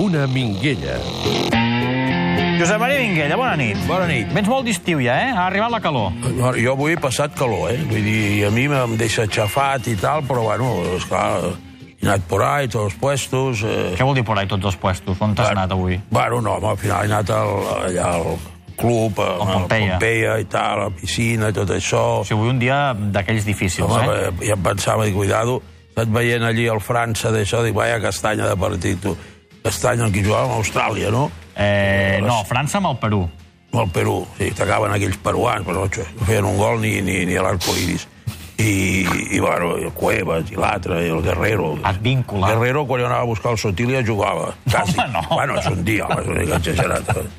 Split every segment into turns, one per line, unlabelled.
Maria Minguella.
Josep Maria Minguella, bona nit.
Bona nit.
Vens molt d'estiu ja, eh? Ha arribat la calor.
No, jo avui he passat calor, eh? Vull dir, a mi em deixa aixafat i tal, però, bueno, esclar, he anat por ahí, tots els puestos... Eh...
Què vol dir por ahí tots els puestos? On t'has anat avui?
Bueno, no, home, al final he anat al, allà al club, a,
Al Pompeia.
a Pompeia i tal, a la piscina i tot això.
O sigui, avui un dia d'aquells difícils,
home,
eh?
eh? Ja em pensava, dic, cuidado, he estat veient allí el França d'això, dic, vaja, castanya de partit, tu. Castanya, en qui jugava? Amb Austràlia, no?
eh? No, França amb el Perú.
amb el Perú. O sigui, t'acaben aquells peruans, però no feien un gol ni, ni, ni a l'arcoiris. I, i, bueno, el Cuevas, i l'altre, i el Guerrero.
Advíncula.
Guerrero, quan jo anava a buscar el Sotilia, jugava. Quasi.
Home, no.
Bueno, és un dia, home, és una mica exagerat.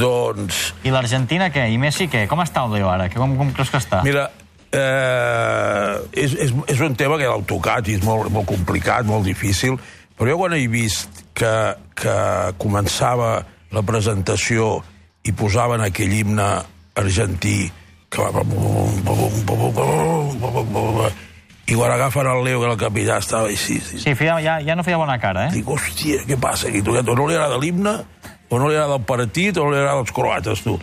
doncs,
I l'Argentina, què? I Messi, què? Com està el Leo ara? Que Com, com creus que està?
mira, eh, és, és, és un tema que l'heu tocat i és molt, molt complicat, molt difícil, però jo quan he vist que, que començava la presentació i posaven aquell himne argentí que va... I quan agafen el Leo, que era el capità, estava així. Sí,
Sí, feia, ja, ja no feia bona cara, eh?
Dic, hòstia, què passa aquí? Tu, o no li agrada l'himne, o no li agrada el partit, o no li agrada els croates, tu.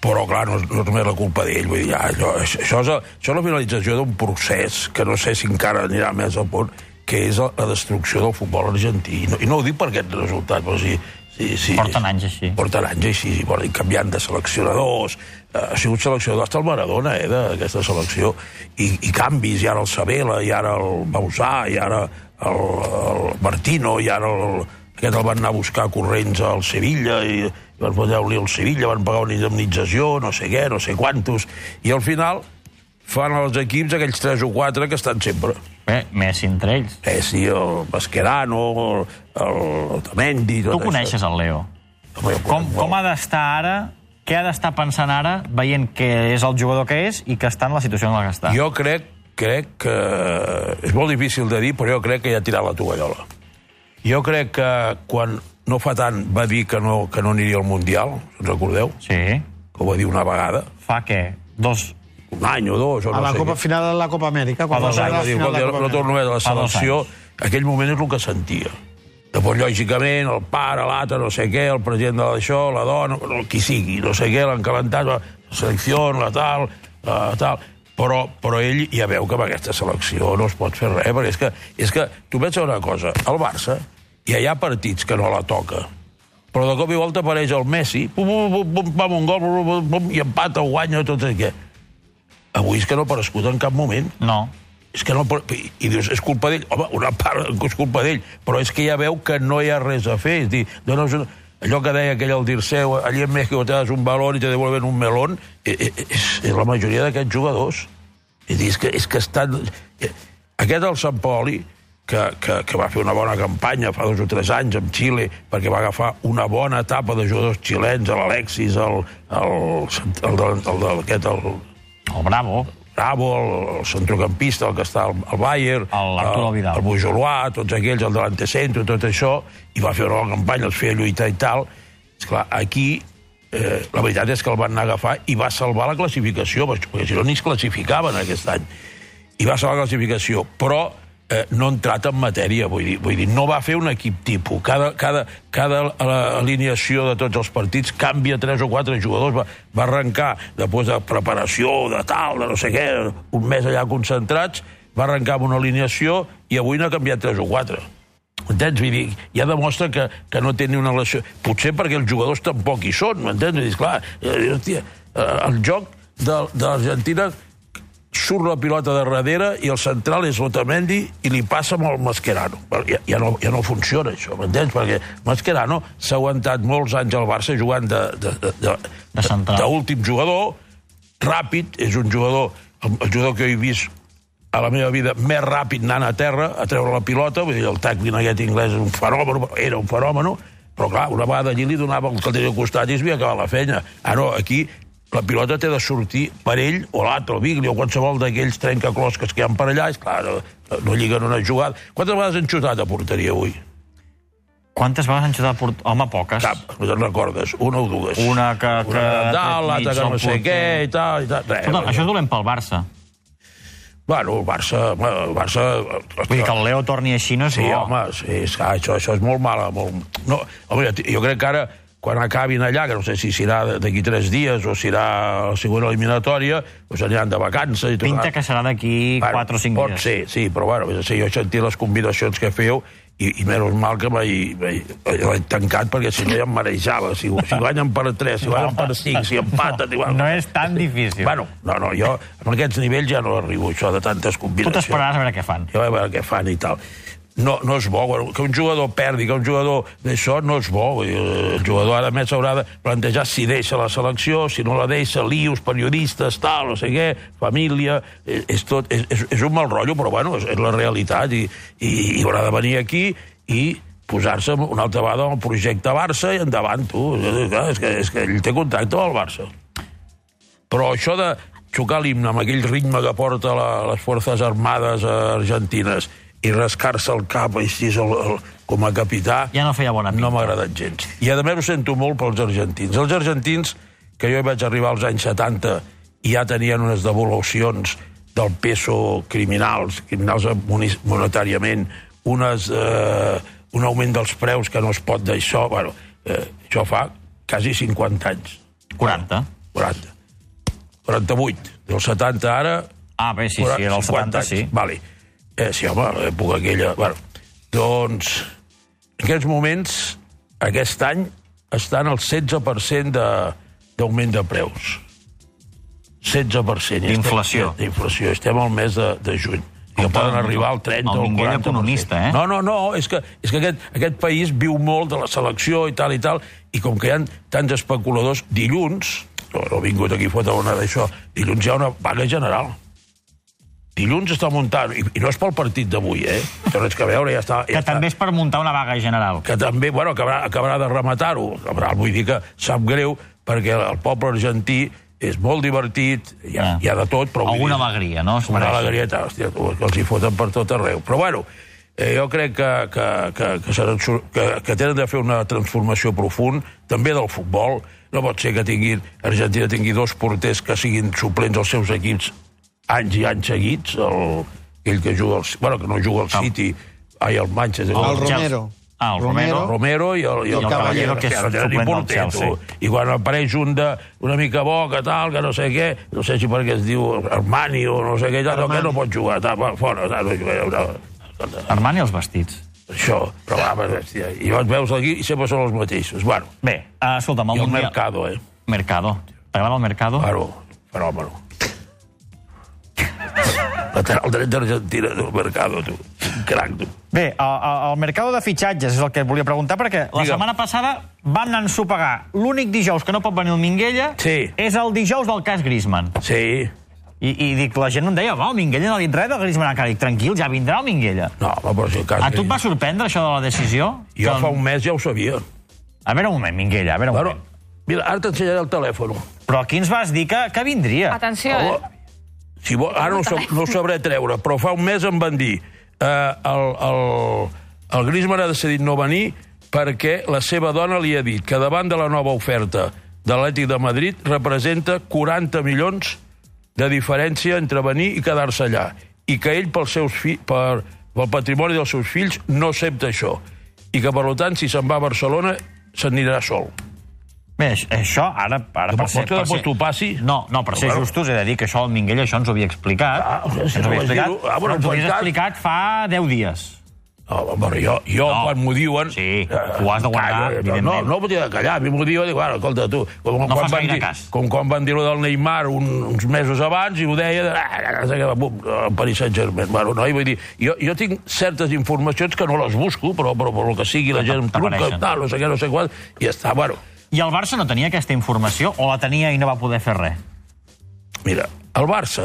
Però, clar, no, és- no és només la culpa d'ell. Vull dir, ja, allò, això, això, és, el- això és la finalització d'un procés que no sé si encara anirà més a punt, que és la, la destrucció del futbol argentí. I no, I no ho dic per aquest resultat, però sí... sí, sí
Porten anys així.
Porten anys així, sí, porten canviant de seleccionadors. Eh, ha sigut seleccionador hasta el Maradona, eh, d'aquesta selecció. I, I canvis, i ara el Sabela, i ara el Bausà, i ara el, el Martino, i ara el, aquest el van anar a buscar corrents al Sevilla, i, i van posar-li al Sevilla, van pagar una indemnització, no sé què, no sé quantos. I al final fan els equips aquells tres o quatre que estan sempre.
Bé, Messi entre ells.
Messi, el Mascherano, el, el Tamendi...
Tu coneixes el Leo. Com, com ha d'estar ara, què ha d'estar pensant ara, veient que és el jugador que és i que està en la situació en la
Ah.
que està?
Jo crec, crec que... És molt difícil de dir, però jo crec que ja ha tirat la tovallola. Jo crec que quan no fa tant va dir que no, que no aniria al Mundial, us recordeu?
Sí.
Que ho va dir una vegada,
Fa què? Dos,
un any o dos, o
A
no
la
sé
Copa
què.
final de la Copa Amèrica. Quan
Fa
va
dos
ser
anys,
la
Va dir,
final de la
"Escolta,
Copa
jo no torno
Amèrica.
més a la
Fa dos
selecció. Aquell moment és el que sentia. Llavors, lògicament, el pare, l'altre, no sé què, el president de d'això, la dona, el qui sigui, no sé què, l'han calentat, la selecció, la tal, la tal... Però, però ell ja veu que amb aquesta selecció no es pot fer res, perquè és que, és que tu pensa una cosa, el Barça ja hi ha partits que no la toca, però de cop i volta apareix el Messi, pum, pum, pum, pum, pam, un gol, pum, pum, pum, i empata, o guanya, tot això. Avui és que no ha aparegut en cap moment
no.
és que no, pot- i, i dius, és culpa d'ell. Home, una part és culpa d'ell, però és que ja veu que no hi ha res a fer. És dir, dones una... Allò que deia aquell al Dirceu, allí en México te das un balón i te devuelven un melón, eh, eh, és, és la majoria d'aquests jugadors. És, dir, és que, és que estan... eh, Aquest del Sant Poli, que, que, que va fer una bona campanya fa dos o tres anys amb Xile, perquè va agafar una bona etapa de jugadors xilens, l'Alexis, el, el, el, el, el, el, el, aquest, el,
El Oh, Bravo.
Bravo, el, el centrocampista, el que està al, al Bayern, eh,
Arturo Vidal.
el Bujolua, tots aquells, el delante centro, tot això, i va fer una bona campanya, els feia lluitar i tal. Esclar, aquí eh, la veritat és que el van anar a agafar i va salvar la classificació, perquè si no ni es classificaven aquest any. I va salvar la classificació, però eh, no ha entrat en matèria, vull dir, vull dir, no va fer un equip tipus. Cada, cada, cada eh, alineació de tots els partits canvia tres o quatre jugadors, va, va arrencar després de preparació, de tal, de no sé què, un mes allà concentrats, va arrencar amb una alineació i avui n'ha canviat tres o quatre. Entens? Vull dir, ja demostra que, que no té ni una relació... Potser perquè els jugadors tampoc hi són, m'entens? Vull dir, clar, eh, hòstia, eh, el joc de, de l'Argentina surt la pilota de darrere i el central és Otamendi i li passa amb el Mascherano. Però Ja, ja, no, ja no funciona això, m'entens? Perquè Mascherano s'ha aguantat molts anys al Barça jugant de, de, de, de,
De central.
d'últim jugador, ràpid, és un jugador, el el jugador que he vist a la meva vida més ràpid anant a terra a treure la pilota, vull dir, el tackling aquest anglès és un fenomen, era un fenomen, però clar, una vegada allí li donava el que tenia al costat i es havia acabat la feina. Ara, aquí, la pilota té de sortir per ell o l'altre, o Bigli, o qualsevol d'aquells trencaclosques que hi ha per allà, és clar, no, no lliguen una jugada. Quantes vegades han xutat a porteria avui?
Quantes vegades han xutat port... Home, poques.
Cap, no te'n recordes, una o dues.
Una que... que
Una de dalt,
ha tret mig
l'altra que
al
no sé
porter.
què, i tal, i tal. Res,
Escolta, això és dolent pel Barça.
Bueno, el Barça... Bueno, el Barça
Vull dir que el Leo torni així no és
Sí,
bo.
home, sí, és, clar, això, això és molt mala. Molt... No, home, jo crec que ara, quan acabin allà, que no sé si serà d'aquí tres dies o serà la següent eliminatòria, doncs aniran de vacances i tot.
Pinta que serà d'aquí 4 o 5
pot
dies.
ser, sí, però bueno, vés a ser, jo he sentit les combinacions que feu i, i menys mal que mai- mai- l'he tancat perquè si no ja em marejava. Si, si guanyen per 3, si guanyen per 5, si empaten...
No,
Igual...
no és tan difícil.
Bueno, no, no, jo en aquests nivells ja no arribo, això de tantes
tu
combinacions
t'esperaràs a veure què fan.
ja a veure què fan i tal. No, no és bo, bueno, que un jugador perdi, que un jugador d'això no és bo. Vull dir, El jugador ara més haurà de plantejar si deixa la selecció, si no la deixa, lius, periodistes, tal, no sé què, família... És, és, tot, és, és, és un mal rotllo, però bueno, és, és la realitat i, i, i haurà de venir aquí i posar-se una altra vegada en el projecte Barça i endavant, tu. Eh, Clar, És que, és que ell té contacte amb el Barça. Però això de xocar l'himne amb aquell ritme que porta la, les forces armades eh, argentines i rascar-se el cap així el, el, com a capità,
Ja no feia bona pinta.
no m'ha agradat gens. I a més ho sento molt pels argentins. Els argentins, que jo hi vaig arribar als anys 70 i ja tenien unes devolucions del peso criminals, criminals moni- monetàriament, unes, eh, un augment dels preus que no es pot d'això, bueno, eh, això fa quasi 50 anys.
40.
40. 48. Dels 70 ara...
Ah, bé, sí, sí, era el
50
70,
anys.
sí.
Vale. Eh, sí, home, l'època aquella... Bueno, doncs, en aquests moments, aquest any, estan al 16% de- d'augment de, de preus. 16%.
D'inflació.
Estem- eh, D'inflació. Estem al mes de, de juny. I que
Compte,
poden arribar al 30
el
o al
Minguell
40%.
economista, eh?
No, no, no, és que, és que aquest, aquest país viu molt de la selecció i tal i tal, i com que hi ha tants especuladors, dilluns, no, no he vingut aquí a fotre una d'això, dilluns hi ha una vaga general. Dilluns està muntant, i, i no és pel partit d'avui, eh? Té res que veure, ja està...
Que
Ja està
també és per muntar una vaga general.
que també, bueno, acabarà, acabarà de rematar-ho. Acabarà, Vull dir que sap greu, perquè el poble argentí és molt divertit, hi ha,
Ah.
hi ha de tot, però... vull
Alguna
dir-
alegria, no? Es
Una
mereix.
alegria, tal, hòstia, tu, que els hi foten per tot arreu. Però bueno, eh, jo crec que, que, que, que, seran, sur- que, que tenen de fer una transformació profund, també del futbol. No pot ser que tinguin, Argentina tingui dos porters que siguin suplents als seus equips anys i anys seguits, el, aquell que juga al, bueno, que no
Ah.
juga al City, ai, al Manchester.
El
El Chelsea.
Romero.
Ah, el Romero.
Romero i el, i el,
I el Caballero,
que és
Claro, tenen
suplent del
porter,
Chelsea.
tu. I quan apareix un de, una mica bo, que tal, que no sé què, no sé si perquè es diu Armani o no sé què, ja, no, que no pot jugar, tal, va, fora, tal, no, no, no, no,
Armani els vestits.
això, però va, va, hòstia, i els veus aquí i sempre són els mateixos. Bueno,
Bé, uh, escolta'm, el,
i el
Mundial...
Mercado, eh?
Mercado. T'agrada el Mercado?
Claro, fenòmeno. Lateral dret d'Argentina, tu, Mercado, tu. Un Crac, tu.
Bé, el, el, el Mercado de fitxatges és el que et volia preguntar, perquè la
Digue'm.
setmana passada van ensopegar. L'únic dijous que no pot venir el Minguella
Sí.
és el dijous del cas Griezmann.
Sí,
I, i dic, la gent em deia, va, el Minguella no ha dit res del Griezmann encara. Dic, tranquil, ja vindrà el Minguella.
no, home, però si el cas...
A Ah, tu et va sorprendre això de la decisió?
Jo
Que-
fa un mes ja ho sabia.
A veure un moment, Minguella, a veure un
Bueno,
moment.
mira, ara t'ensenyaré el telèfon.
Però aquí ens vas dir que, que vindria.
Atenció, eh?
Home, si vol, ara no, ho sab, no ho sabré treure, però fa un mes em van dir eh, el, el, el Griezmann ha decidit no venir perquè la seva dona li ha dit que davant de la nova oferta de l'Atlètic de Madrid representa 40 milions de diferència entre venir i quedar-se allà i que ell pels seus fi, per, pel patrimoni dels seus fills no accepta això i que per tant si se'n va a Barcelona se'n anirà sol
Bé, aix- això, ara... ara
Que pot que després t'ho passi?
No, no, per ser
Bueno.
justos, he de dir que això el Minguell, això ens ho havia explicat.
Ah, o sigui, si
ens
no
ho havia
vas
explicat,
dir-ho, ah, bueno,
però ens ho
en
havies
veritat-
explicat fa 10 dies.
No, però Ah, jo, jo
No.
no. quan m'ho diuen... eh,
Sí, ho has de guardar,
callo, no,
evidentment.
no m'ho de callar, a mi m'ho diuen, dic, bueno, escolta, tu... Com,
No fas
van
gaire
dir,
cas.
Com quan van dir-ho del Neymar un, uns mesos abans i ho deia, ah, no sé què, bum, el Paris Saint-Germain. Bueno, no, i vull dir, jo, jo tinc certes informacions que no les busco, però, però, per el que sigui, la
Però
gent em truca,
t'apareixen.
tal, no sé què, no sé quant, i ja està, bueno...
I el Barça no tenia aquesta informació o la tenia i no va poder fer res?
Mira, el Barça...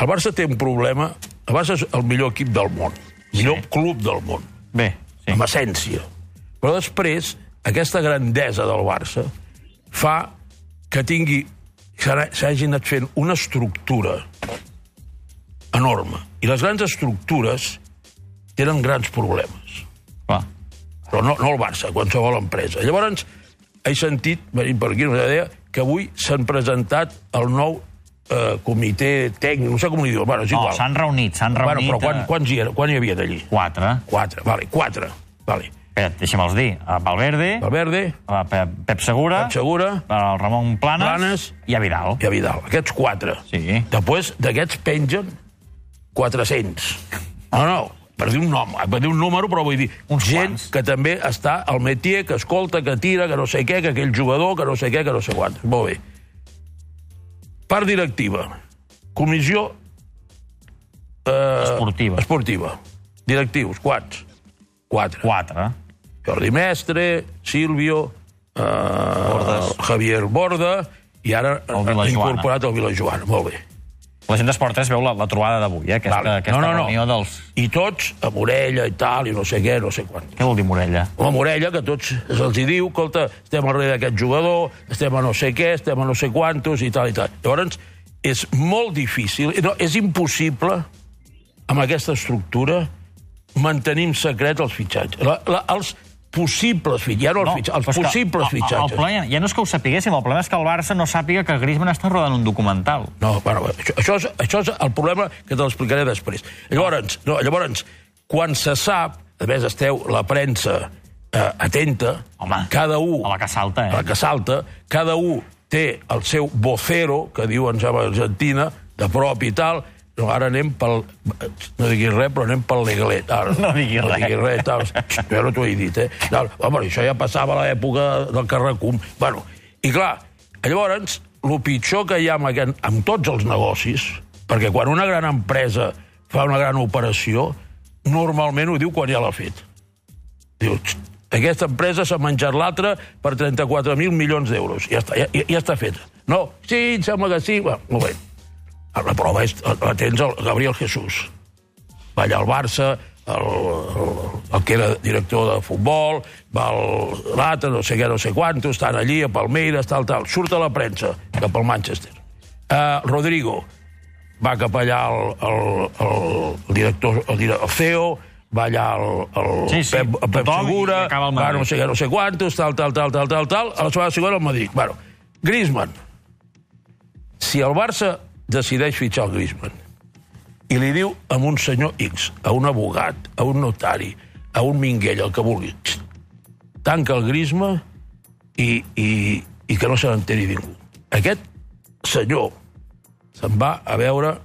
El Barça té un problema... El Barça és el millor equip del món, el millor club del món.
Bé, sí.
amb essència. Però després, aquesta grandesa del Barça fa que tingui s'ha- s'hagi anat fent una estructura enorme. I les grans estructures tenen grans problemes.
Va.
Però no, no el Barça, qualsevol empresa. Llavors, he sentit, venint per aquí, una idea, que avui s'han presentat el nou eh, comitè tècnic, no sé com li diu, bueno, és
No,
igual.
s'han reunit, s'han
bueno,
reunit...
però quan,
eh,
quants hi, era, quan hi havia d'allí?
Quatre.
Quatre, vale, quatre. Vale.
Espera't, deixa'm-els dir. Eh, Valverde,
Valverde,
eh, Pep, Pep Segura,
Pep Segura,
el Ramon Planes,
Planes.
i a Vidal.
i a Vidal. Aquests quatre.
Sí.
Després, d'aquests pengen 400. No, no, per dir un nom, per dir un número, però vull dir,
Uns
gent
quants.
que també està al métier, que escolta, que tira, que no sé què, que aquell jugador, que no sé què, que no sé quant. Molt bé. Part directiva. Comissió
Esportiva.
esportiva. Directius, quants? Quatre.
Quatre.
Jordi Mestre, Silvio, eh,
Bordes.
Javier Borda, i ara
El
ha
Vilajoana.
incorporat el Vilajoana. Molt bé.
La gent d'Esport 3 veu la, la trobada d'avui, eh? aquesta,
Val.
aquesta reunió dels...
I tots, a Morella i tal, i no sé què, no sé quant.
Què vol dir Morella?
La Morella, que tots se'ls hi diu, escolta, estem al darrere d'aquest jugador, estem a no sé què, estem a no sé quantos, i tal, i tal. Llavors, és molt difícil, no, és impossible, amb aquesta estructura, mantenir en secret els fitxatges. La, la, els possibles fitxatges, ja no els,
però
fitxatges,
és
els
que
possibles
el- El, el
fitxatges.
problema, ja no és que ho sapiguéssim, el problema és que el Barça no sàpiga que Griezmann està rodant un documental.
No, bueno, això, això, és, això és el problema que te l'explicaré després. Llavors, no, llavors, quan se sap, a més esteu la premsa eh, atenta,
Home,
cada un...
a la que salta, eh?
A la que salta, cada un té el seu vocero, que diuen, sembla, a Argentina, de prop i tal, no, ara anem pel... No diguis res, però anem pel legalet. Ara,
No diguis
no
res.
diguis res. Tal. Jo no t'ho he dit, eh? No, home, això ja passava a l'època del Carracum. Bueno, i clar, llavors, el pitjor que hi ha amb, aquest, amb tots els negocis, perquè quan una gran empresa fa una gran operació, normalment ho diu quan ja l'ha fet. Diu, "Txt, aquesta empresa s'ha menjat l'altra per 34.000 milions d'euros. Ja està, ja, ja, ja està feta. No, sí, em sembla que sí. Va, molt bé. La prova és, la tens el Gabriel Jesús. Va allà al Barça, el, el, el que era director de futbol, va al- l'altre, no sé què, no sé quantos, estan allí, a Palmeiras, tal, tal. Surt a la premsa, cap al Manchester. Uh, Rodrigo, va cap allà el, el, el director, el, dire- el CEO, va allà el, el
Sí, sí,
Pep, el Pep
tothom i
Segura,
acaba al
va
Madrid.
no sé què, no sé quantos, tal, tal, tal, tal, tal, tal, a la setmana següent al Madrid. Bueno, Griezmann. Si el Barça decideix fitxar el Griezmann i li diu a un senyor X, a un abogat, a un notari, a un minguell, el que vulgui, "Xt, tanca el Griezmann i, i, i que no se n'enteri ningú. Aquest senyor se'n va a veure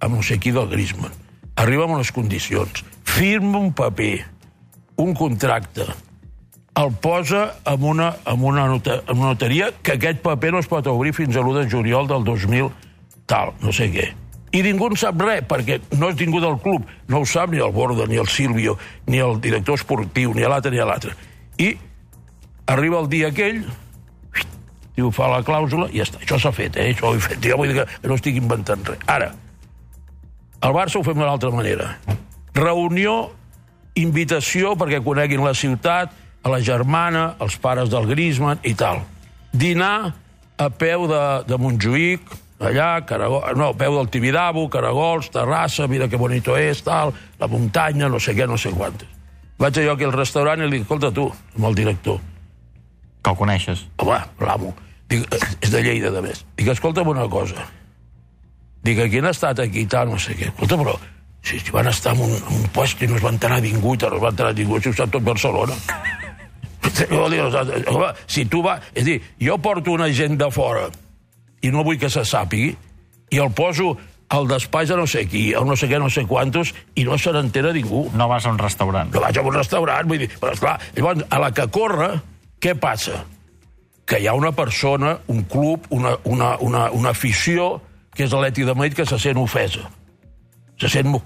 amb no sé qui del Griezmann. Arriba amb unes condicions. Firma un paper, un contracte, el posa en una, en una, nota, en una notaria que aquest paper no es pot obrir fins a l'1 de juliol del 2000, tal, no sé què. I ningú en sap res, perquè no és ningú del club. No ho sap ni el Borda, ni el Silvio, ni el director esportiu, ni l'altre, ni l'altre. I arriba el dia aquell, diu, fa la clàusula, i ja està. Això s'ha fet, eh? Això ho he fet. Jo vull dir que no estic inventant res. Ara, el Barça ho fem d'una altra manera. Reunió, invitació perquè coneguin la ciutat, a la germana, els pares del Griezmann i tal. Dinar a peu de, de Montjuïc, allà, Caragol, no, a peu del Tibidabo, Caragols, Terrassa, mira que bonito és, tal, la muntanya, no sé què, no sé quantes. Vaig allò aquí al restaurant i li dic, escolta tu, amb el director,
Que el coneixes.
Home, l'amo. Dic, eh, és de Lleida, de més. Dic, escolta'm una cosa. Dic, aquí han estat aquí i tal, no sé què. Escolta, però si, si van estar en un, en un puesto i no es van enterar ningú, i tal, no es van enterar ningú, si ho sap tot Barcelona. Vol dir, home, si tu va... És a dir, jo porto una gent de fora i no vull que se sàpigui, i el poso al despatx de no sé qui, a no sé què, no sé quantos, i no se n'entera ningú
No vas a un restaurant.
que vaig a un restaurant, vull dir, però esclar, llavors, a la que corre, què passa? Que hi ha una persona, un club, una, una, una, una afició, que és l'Eti de Madrid, que se sent ofesa. Se sent mo-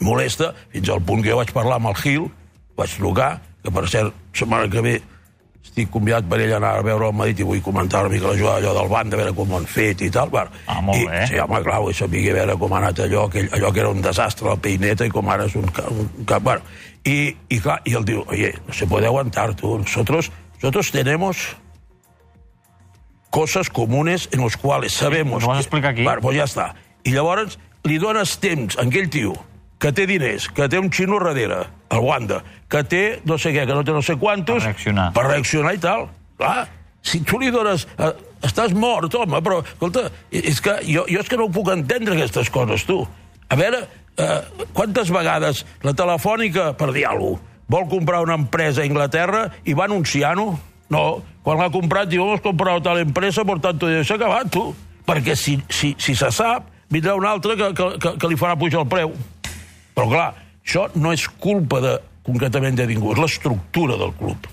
molesta, fins al punt que jo vaig parlar amb el Gil, vaig trucar, que per cert, setmana que ve estic convidat per ell a anar a veure el Madrid i vull comentar una mica la jugada allò del banc, a veure com ho han fet i tal. Bueno,
Ah, molt
i,
bé.
Sí, home, clar, vull saber a veure com ha anat allò, que, allò que era un desastre, la peineta, i com ara és un, ca- un cap... Bueno, i, I clar, i ell diu, oye, no se puede aguantar, tú. Nosotros, nosotros tenemos cosas comunes en los cuales sabemos...
ho vas
que-
explicar aquí?
Bueno, pues doncs ja està. I llavors li dones temps a aquell tio que té diners, que té un xino darrere, el Wanda, que té no sé què, que no té no sé quantos...
Per reaccionar.
Per reaccionar i tal. Clar, si tu li dones... Eh, Estàs mort, home, però, escolta, és que jo, jo és que no ho puc entendre, aquestes coses, tu. A veure, eh, quantes vegades la telefònica, per dir alguna cosa, vol comprar una empresa a Inglaterra i va anunciar-ho? No, quan l'ha comprat diu, hemos comprado tal empresa, por tanto, deu ser acabat, tu. Perquè si, si, si se sap, vindrà un altre que, que, que, que li farà pujar el preu. Però, clar, això no és culpa de, concretament de ningú, és l'estructura del club.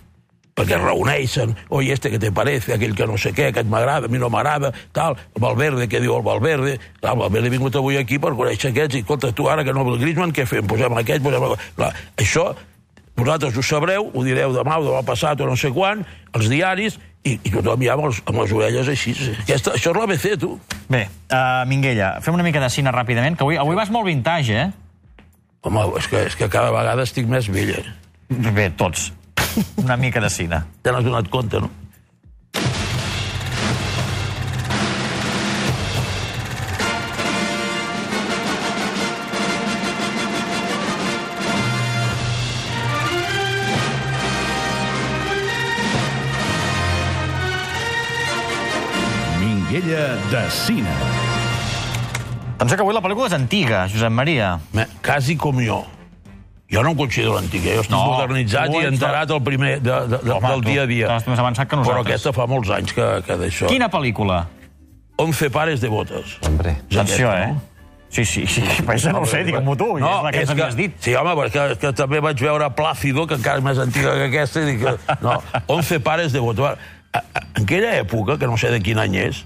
Perquè es reuneixen, oi, este que te parece, aquell que no sé què, aquest m'agrada, a mi no m'agrada, tal, el Valverde, què diu el Valverde? Clar, el Valverde ha vingut avui aquí per conèixer aquests, i escolta, tu ara que no ve el Griezmann, què fem? Posem aquest, posem aquest... Clar, això vosaltres ho sabreu, ho direu demà o demà passat o no sé quan, als diaris, i, i tothom ja amb, els, amb les orelles així. Aquesta, això és l'ABC, tu.
Bé, uh, Minguella, fem una mica de cine ràpidament, que avui, avui vas molt vintage, eh?
Home, és que, és que cada vegada estic més vell. eh?
Bé, tots. Una mica de cine.
Te n'has donat compte, no?
Minguella de Cine.
Penseu que avui la pel·lícula és antiga, Josep Maria.
Me- Quasi com jo. Jo no em considero antic, eh? jo estic
No,
no, modernitzat
tu
i
ets-
enterat el primer de, de, de,
Home,
del
tu
dia a dia.
estàs més avançat que
Però
nosaltres.
aquesta fa molts anys que, que d'això.
Quina pel·lícula?
11 pares de botes.
Hombre.
És
Atenció,
aquesta,
eh?
no?
Sí, sí, sí. Però això no ho sé, digue'm-ho tu. No, és la que ens havies dit.
Sí, home, perquè és que també vaig veure Plàcido, que encara és més antiga que aquesta, i dic, que- no, 11 pares de votos. A- a- En aquella època, que no sé de quin any és,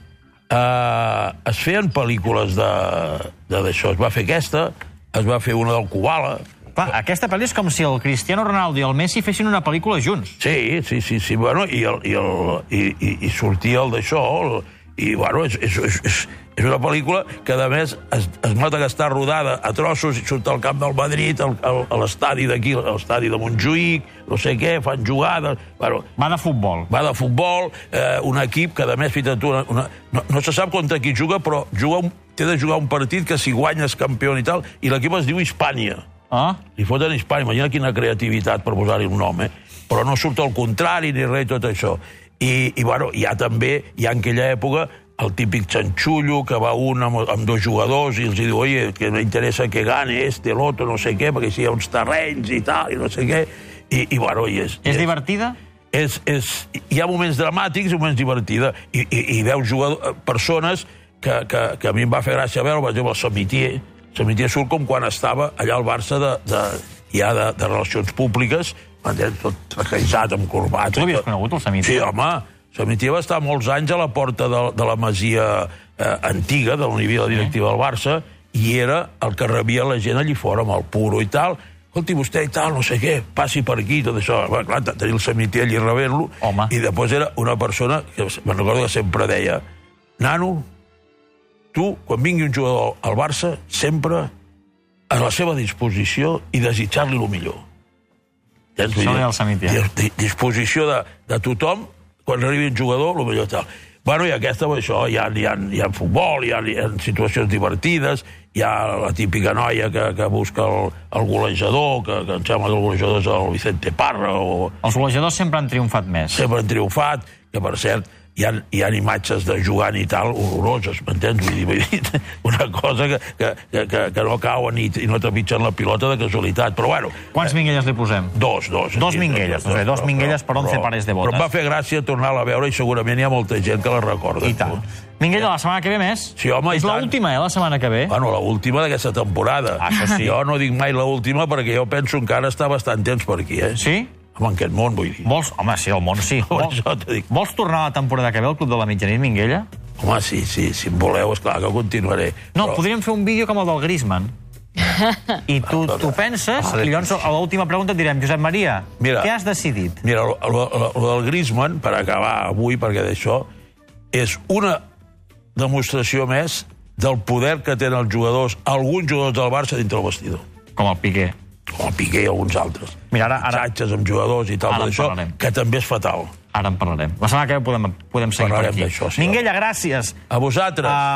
eh, es feien pel·lícules de- de- d'això. Es va fer aquesta, es va fer una del Kubala.
Clar, aquesta pel·li és com si el Cristiano Ronaldo i el Messi fessin una pel·lícula junts.
Sí, sí, sí, sí, bueno, i, el, i, el, i, i, i sortia el d'això, el- i bueno, és, és, és, és, és una pel·lícula que a més es, es nota que està rodada a trossos i surt al camp del Madrid, al, al, a l'estadi d'aquí, a l'estadi de Montjuïc, no sé què, fan jugades, bueno,
Va de futbol.
va de futbol, eh, un equip que a més, fixa't tu, una, una, no, no se sap contra qui juga, però juga un, té de jugar un partit que si guanyes campió i tal, i l'equip es diu Hispània.
Ah?
Li foten Hispània, imagina quina creativitat per posar-hi un nom, eh? Però no surt al contrari ni res, tot això. I, i bueno, hi ha també, hi ha en aquella època, el típic xanxullo que va un amb, amb dos jugadors i els hi diu oye, que m'interessa que gane este, l'altre, no sé què, perquè si hi ha uns terrenys i tal, i no sé què. I, i bueno, i és,
És
i
divertida?
és, és, hi ha moments dramàtics i moments divertida. I, i, i veus jugador, persones que, que, que a mi em va fer gràcia veure, per exemple, el Samitier. El Samitier surt com quan estava allà al Barça de, de, ja de, de relacions públiques, m'entens? tot traquejat, amb corbats.
Tu l'havies
tot.
conegut, el Samitier?
Sí, home. Samitier va estar molts anys a la porta de, de la masia eh, antiga, de la Univia, la directiva del Barça, i era el que rebia la gent allí fora, amb el puro i tal. Escolti, vostè i tal, no sé què, passi per aquí, tot això. Va, clar, tenir el Samitier allí rebent-lo.
Home.
I després era una persona que me'n recordo que sempre deia nano, tu, quan vingui un jugador al Barça, sempre a la seva disposició i desitjar-li el millor. Ja ens
Això ho deia el Samitier.
disposició de, de tothom, quan arribi un jugador, el millor tal. Bueno, i aquesta, pues, això, hi ha, hi ha, hi ha futbol, hi ha, hi ha situacions divertides, hi ha la típica noia que, que busca el, el golejador, que, que em sembla que el golejador és el Vicente Parra, o,
Els golejadors sempre han triomfat més.
sempre han triomfat, que per cert hi ha, hi ha imatges de jugant i tal horroroses, m'entens? Vull dir, vull dir, una cosa que, que, que, que, que no cauen i, i no trepitgen la pilota de casualitat. Però bueno,
Quants minguelles li posem?
dos, dos.
Dos minguelles, doncs bé, dos minguelles per 11 pares de botes.
Però em va fer gràcia tornar-la a veure i segurament hi ha molta gent que la recorda.
I tant. Minguella, la setmana que ve més?
Sí, home, i
És
tant. Ah.
l'última, eh, la setmana que ve?
Bueno, l'última d'aquesta temporada.
Ah, això sí.
Jo no dic mai l'última perquè jo penso que encara està bastant temps per aquí, eh?
Sí?
Home, en aquest món, vull dir.
Vols... Home, sí, el món sí.
Per
Vols,
això t'ho dic.
vols tornar a la temporada que ve al Club de la Mitjanit, Minguella?
Home, sí, sí, si em voleu, esclar, que continuaré.
No, podríem fer un vídeo com el del Griezmann. I tu
Ah,
t'ho penses,
ah,
i llavors a l'última pregunta et direm, Josep Maria,
Mira.
què has decidit?
Mira, lo, lo, lo, lo del Griezmann, per acabar avui, perquè d'això, és una demostració més del poder que tenen els jugadors, alguns jugadors del Barça dintre el vestidor.
Com el Piqué.
Com el Piqué i alguns altres.
Mira, ara- ara-
Xatxes amb jugadors i tal,
Ara en
d'això,
parlarem.
que també és fatal.
Ara en parlarem. La setmana que ve podem, podem seguir
Parlarem
per aquí.
d'això, sí.
Minguella, gràcies.
A vosaltres.
Ah,